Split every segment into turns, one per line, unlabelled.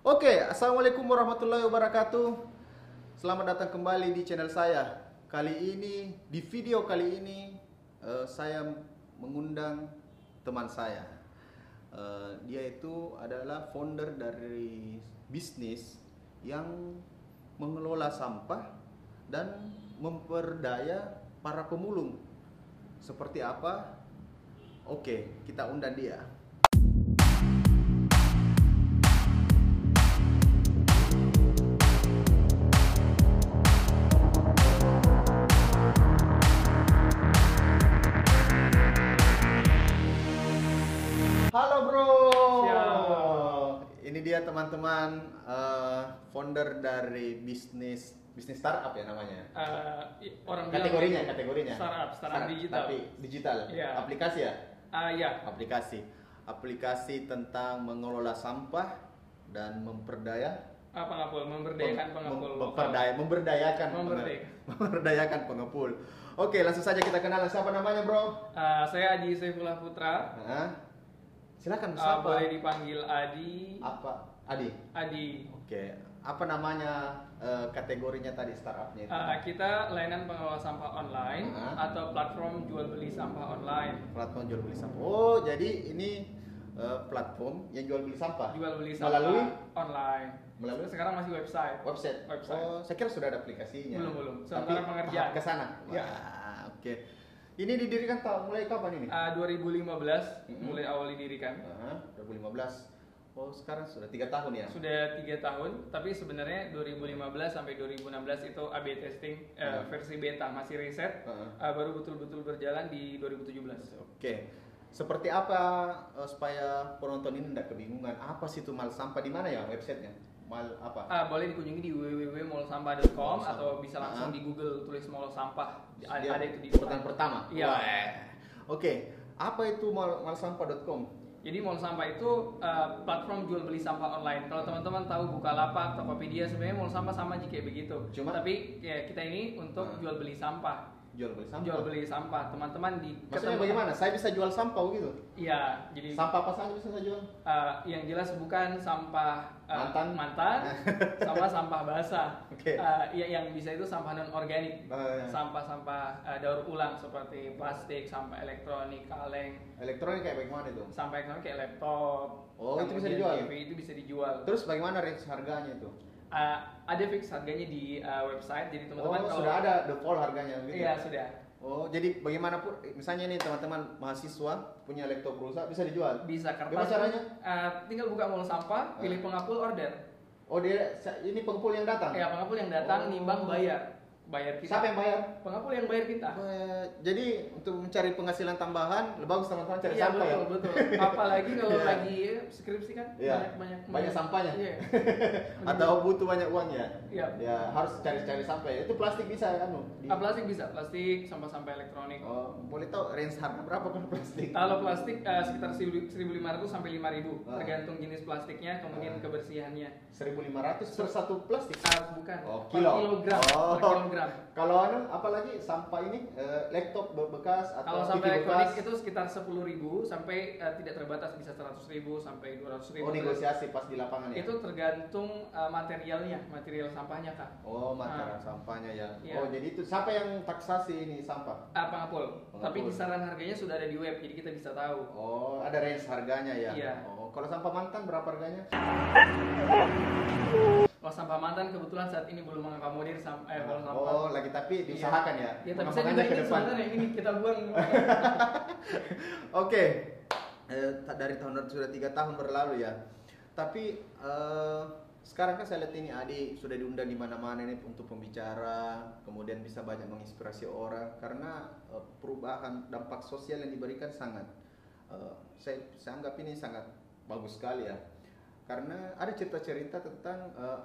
Oke, assalamualaikum warahmatullahi wabarakatuh. Selamat datang kembali di channel saya. Kali ini di video kali ini eh, saya mengundang teman saya. Eh, dia itu adalah founder dari bisnis yang mengelola sampah dan memperdaya para pemulung. Seperti apa? Oke, kita undang dia. Halo bro.
Siap.
Ini dia teman-teman eh, founder dari bisnis bisnis startup ya namanya.
Eh, i- orang bilang-
kategorinya kategorinya.
startup startup digital
Tapi digital.
Iya.
Aplikasi ya?
ah ya
Aplikasi. Aplikasi tentang mengelola sampah dan memperdaya
ah, pengepul memberdayakan
Mem-
pengepul
mem-
lokal.
memperdaya- memberdayakan penge-
Memberdayakan.
memberdayakan pengepul. Oke, langsung saja kita kenalan siapa namanya, Bro?
Ah, saya Adi Saifullah Putra
Hah? Silakan
Ah,
siapa?
boleh dipanggil Adi
Apa? Adi.
Adi
Oke, apa namanya eh, kategorinya tadi startupnya? itu?
Ah, kita layanan pengelola sampah online
Hmm.
atau platform jual beli sampah online
platform jual beli sampah. Oh, jadi ini eh, platform yang jual beli sampah
jual beli sampah
Melalui?
online
Melalui?
sekarang masih website
website.
Website.
Oh, saya kira sudah ada aplikasinya.
Belum, belum.
Tapi
Sementara pengerjaan.
tahap ke sana.
Iya.
Wah, oke. Ini didirikan tahun mulai kapan ini?
Ah, 2015
Hmm.
mulai awal didirikan
Aha, 2015. Oh, sekarang sudah tiga tahun ya.
sudah tiga tahun tapi sebenarnya 2015 sampai 2016 itu A/B testing eh,
Hmm.
versi beta masih riset
Heeh.
Uh, baru betul-betul berjalan di 2017.
Oke. Seperti apa eh, supaya penonton ini tidak kebingungan? Apa sih itu mal sampah di mana ya websitenya? Mal apa?
Ah, boleh dikunjungi di www.molsampah.com
Mall
atau
Sampah.
bisa langsung
Ah.
di Google tulis mall sampah. Ada,
Dia
ada itu di
pertanyaan pertama.
Iya.
Wah. Oke, apa itu mal malsampah.com?
Jadi mall sampah itu uh, platform jual beli sampah online. Kalau teman-teman tahu Bukalapak, Tokopedia sebenarnya mall sampah sama aja kayak begitu.
Cuma-
tapi ya, kita ini untuk
Ah.
jual beli sampah.
Jual beli sampah.
Jual beli sampah. Teman-teman di
Maksudnya
ketemu-
bagaimana? Saya bisa jual sampah gitu.
Iya, jadi
Sampah apa saja bisa saya jual?
uh, yang jelas bukan sampah uh,
Mantan.
mantan sama sampah basah.
Oke.
Uh, ya, yang bisa itu sampah non organik.
Nah,
sampah-sampah eh, daur ulang seperti plastik, sampah elektronik, kaleng,
elektronik kayak bagaimana itu?
sampah elektronik kayak laptop.
Oh, itu bisa
kemudian
dijual?
TV itu bisa dijual.
Terus bagaimana range harganya itu?
Eh, ada fix harganya di eh, website, jadi teman-teman
oh,
kalau
sudah ada the full harganya gitu.
Iya, sudah.
Oh, jadi bagaimanapun misalnya nih teman-teman mahasiswa punya laptop perusahaan bisa dijual.
Bisa kertas.
Gimana caranya? Eh.
eh, tinggal buka mall sampah, pilih pengapul order.
Oh, dia ini pengepul yang datang.
Ya, pengapul yang
Oh.
datang nimbang bayar. Bayar kita.
Siapa yang bayar?
Pengapul yang bayar kita.
Eh, Jadi untuk mencari penghasilan tambahan, lebih bagus teman-teman cari
Iya
sampah ya.
betul, betul. Apalagi kalau
Iya.
lagi eh, skripsi kan
Iya.
banyak banyak
Banyak sampahnya.
Iya.
Atau butuh banyak uang ya?
Iya.
Ya harus cari-cari sampah. ya. Itu plastik bisa kan? Bu? Di-
Ah, plastik bisa, plastik, sampah-sampah elektronik.
Oh, boleh tahu range harga berapa per plastik?
Kalau plastik eh, sekitar 1.500 sampai 5.000,
Ah.
tergantung jenis plastiknya, kemudian
Ah.
kebersihannya.
1.500 per satu plastik.
Ah, bukan,
Oh,
per
kilo.
kilogram,
Oh.
per kilogram.
Kalau anu apalagi sampah ini eh, laptop be- bekas atau
Kalau sampai
TV bekas.
elektronik itu sekitar 10.000 sampai eh, tidak terbatas bisa 100.000 sampai 200.000.
Oh, negosiasi pas di lapangan ya.
Itu tergantung eh, materialnya, material sampahnya kak.
Oh, makanan
Ah.
sampahnya ya.
Iya.
Oh, jadi itu siapa yang taksasi ini sampah?
Ah, pengapul.
Pengapul.
Tapi kisaran harganya sudah ada di web, jadi kita bisa tahu.
Oh, ada range harganya ya.
Iya.
Oh, kalau sampah mantan berapa harganya?
Kalau Oh, sampah mantan kebetulan saat ini belum mengakomodir sam- eh, kalau sampah.
oh, lagi tapi diusahakan ya.
Ya tapi saya
Makanya
juga
ke
ingin
depan.
sebenarnya ini kita buang.
Oke, Eh, ta- dari tahun sudah tiga tahun berlalu ya. Tapi eh, sekarang kan saya lihat ini Adi sudah diundang di mana-mana ini untuk pembicara, kemudian bisa banyak menginspirasi orang karena eh, perubahan dampak sosial yang diberikan sangat, eh, saya, saya anggap ini sangat bagus sekali ya. Karena ada cerita-cerita tentang eh,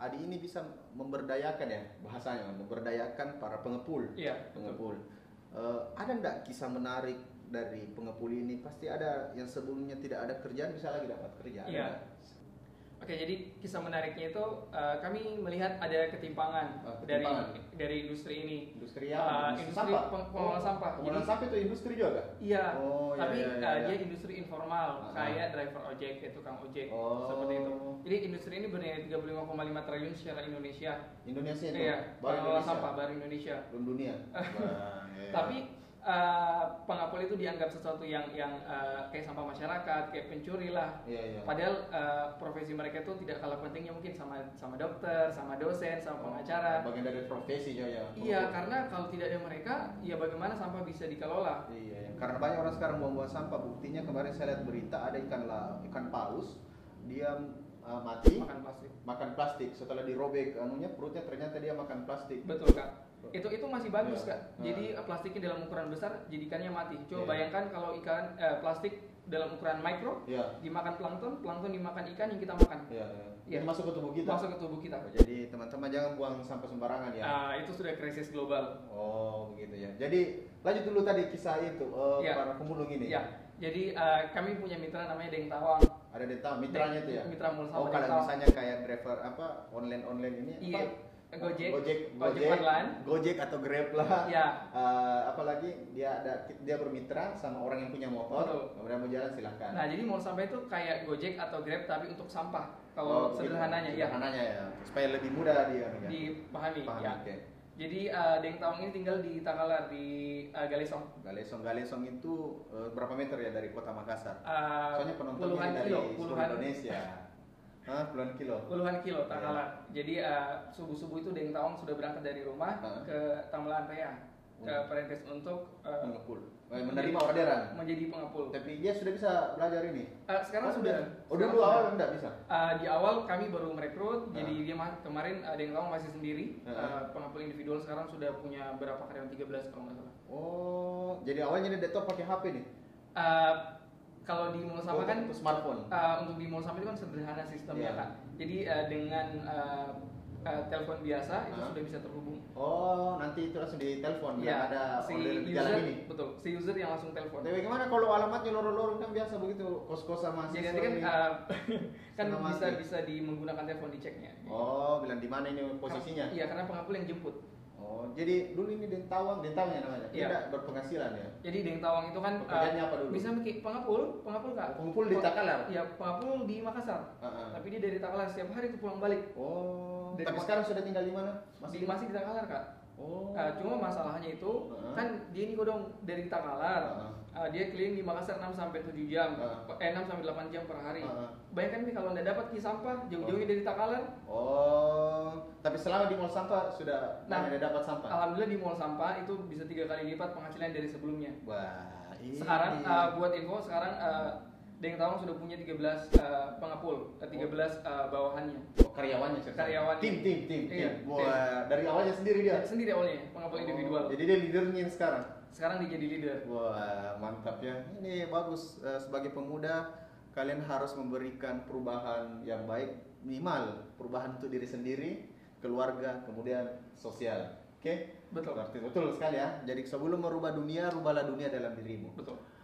Adi ini bisa memberdayakan ya bahasanya, memberdayakan para pengepul
Iya. betul.
pengepul. Eh, ada nggak kisah menarik dari pengepul ini? Pasti ada yang sebelumnya tidak ada kerjaan bisa lagi dapat kerjaan.
Iya.
Ada.
Oke, jadi kisah menariknya itu eh, kami melihat ada ketimpangan,
Ah, ketimpangan.
dari dari industri ini.
Industri
Ah,
apa?
industri peng- pengolahan sampah.
Pengolahan
Jadi-
sampah itu industri juga?
Iya,
Oh, iya,
tapi
iya, iya,
eh,
iya.
dia industri
Ah.
informal, kayak driver ojek, kayak tukang ojek,
Oh.
seperti itu. Jadi industri ini bernilai 35,5 triliun secara Indonesia.
Indonesia itu?
Iya,
Baru
pengelola
Indonesia?
sampah baru Indonesia.
Belum dunia? Bang, iya.
Tapi eh, pengapel itu dianggap sesuatu yang yang eh, kayak sampah masyarakat, kayak pencuri lah.
Iya, iya.
Padahal eh, profesi mereka itu tidak kalah pentingnya mungkin sama sama dokter, sama dosen, sama pengacara.
Bagian dari profesi ya ya.
Iya, karena kalau tidak ada mereka, ya bagaimana sampah bisa dikelola?
Iya, iya. karena banyak orang sekarang buang-buang sampah. Buktinya kemarin saya lihat berita ada ikan la, ikan paus dia uh, mati
Makan plastik.
makan plastik setelah dirobek anunya perutnya ternyata dia makan plastik.
Betul kak. Itu itu masih bagus
Iya.
kak. Jadi eh, plastiknya dalam ukuran besar, jadi ikannya mati. Coba
Iya.
bayangkan kalau ikan eh, plastik dalam ukuran mikro
Iya.
dimakan plankton, plankton dimakan ikan yang kita makan.
Iya.
Iya.
Ini masuk ke tubuh kita.
Masuk ke tubuh kita.
Oh, jadi teman-teman jangan buang sampah sembarangan ya.
Ah, itu sudah krisis global.
Oh, begitu ya. Jadi lanjut dulu tadi kisah itu eh,
Iya.
para pemulung ini.
Ya. Jadi eh, kami punya mitra namanya Deng Tawang.
Ada data mitranya itu ya.
Mitra mul sama
Oh,
Deng
kalau
Tawang.
misalnya kayak driver apa online-online ini
Iya.
apa?
Gojek.
Gojek,
Gojek online.
Gojek atau Grab lah.
Ya.
Eh, apalagi dia ada dia bermitra sama orang yang punya
Betul.
motor, kemudian mau jalan silahkan.
Nah, jadi mall sampah itu kayak Gojek atau Grab tapi untuk sampah.
Oh,
Kalau sederhananya
gitu.
ya
Sederhananya ya. Supaya lebih mudah dia ya.
dipahami
Paham,
ya.
oke.
Jadi eh, Deng Tawang ini tinggal di Takalar di eh, Galesong.
Galesong Galesong itu eh, berapa meter ya dari kota Makassar?
Eh,
Soalnya penontonnya
puluhan
dari
kilo,
seluruh
puluhan
Indonesia. Hah, puluhan kilo.
puluhan kilo tak
Iya.
kalah. Jadi eh, subuh-subuh itu Deng Taong sudah berangkat dari rumah
Heeh.
ke Tamalan Raya ke
Hmm.
Perentes untuk eh,
Mengepul. Eh, menerima orderan.
menjadi pengepul.
Tapi dia sudah bisa belajar ini.
Eh,
Oh,
sekarang sudah.
Oh,
Sekarang
dulu
sudah.
awal enggak bisa.
Eh, di awal kami baru merekrut,
Heeh.
jadi dia ma- kemarin eh, Deng Taong masih sendiri.
Heeh.
Eh, pengepul individual sekarang sudah punya berapa karyawan 13 kalau nggak salah.
Ah. Oh, jadi awalnya dia laptop pakai HP nih.
Eh, kalau di mall sama
Oh,
kan
ke smartphone.
Uh, untuk di mall sama itu kan sederhana
Iya.
sistemnya kak. Jadi uh, dengan uh, uh, telepon biasa itu
Hah?
sudah bisa terhubung.
Oh, nanti itu langsung ditelepon
Iya,
ya. ada
si
order di jalan
user
ini.
betul si user yang langsung telepon.
Tapi bagaimana kalau alamatnya lorong-lorong kan biasa begitu kos-kos sama
Jadi nanti kan
ini.
uh, kan
Sama
bisa
mati.
bisa di menggunakan telepon diceknya.
Oh, bilang di mana ini posisinya?
Iya karena pengapul yang jemput.
Oh, jadi dulu ini Dentawang, Dentawang ya namanya.
Iya.
Tidak berpenghasilan ya.
Jadi Deng Tawang itu kan
Pekerjaannya apa dulu?
bisa bikin pengapul, pengapul kak.
Pengumpul di Takalar. Ah.
Iya pengapul di Makassar.
Heeh.
Tapi dia dari Takalar setiap hari itu pulang balik.
Oh,
Dari
tapi
kota-
sekarang sudah tinggal di mana?
Masih masih di Takalar kak.
Oh. Ah.
Uh, cuma masalahnya itu
Heeh.
kan dia ini godong dari Takalar.
Heeh.
Uh, dia keliling di Makassar 6 sampai 7 jam.
Heeh.
Eh 6 sampai 8 jam per hari.
Heeh.
Bayangkan nih kalau Anda dapat ki sampah jauh-jauh
Oh.
dari Takalar.
Oh, tapi selama di mall sampah sudah
Nah,
banyak dapat sampah.
Alhamdulillah di mall sampah itu bisa tiga kali lipat penghasilan dari sebelumnya.
Wah, ini.
Sekarang uh, buat info sekarang uh, Deng Tawang sudah punya 13 uh, pengepul, uh, 13 uh, bawahannya.
Oh, karyawannya cerita.
Karyawannya.
Tim, tim, tim,
Iya,
tim. Wah, dari awalnya sendiri dia.
Sendiri awalnya pengepul
Oh,
individual.
Jadi dia leadernya yang sekarang.
Sekarang dia jadi leader.
Wah, mantap ya. Ini bagus Eh, sebagai pemuda kalian harus memberikan perubahan yang baik minimal perubahan untuk diri sendiri, keluarga, kemudian sosial. Oke?
Betul.
Berarti betul sekali ya. Jadi sebelum merubah dunia, rubahlah dunia dalam dirimu.
Betul.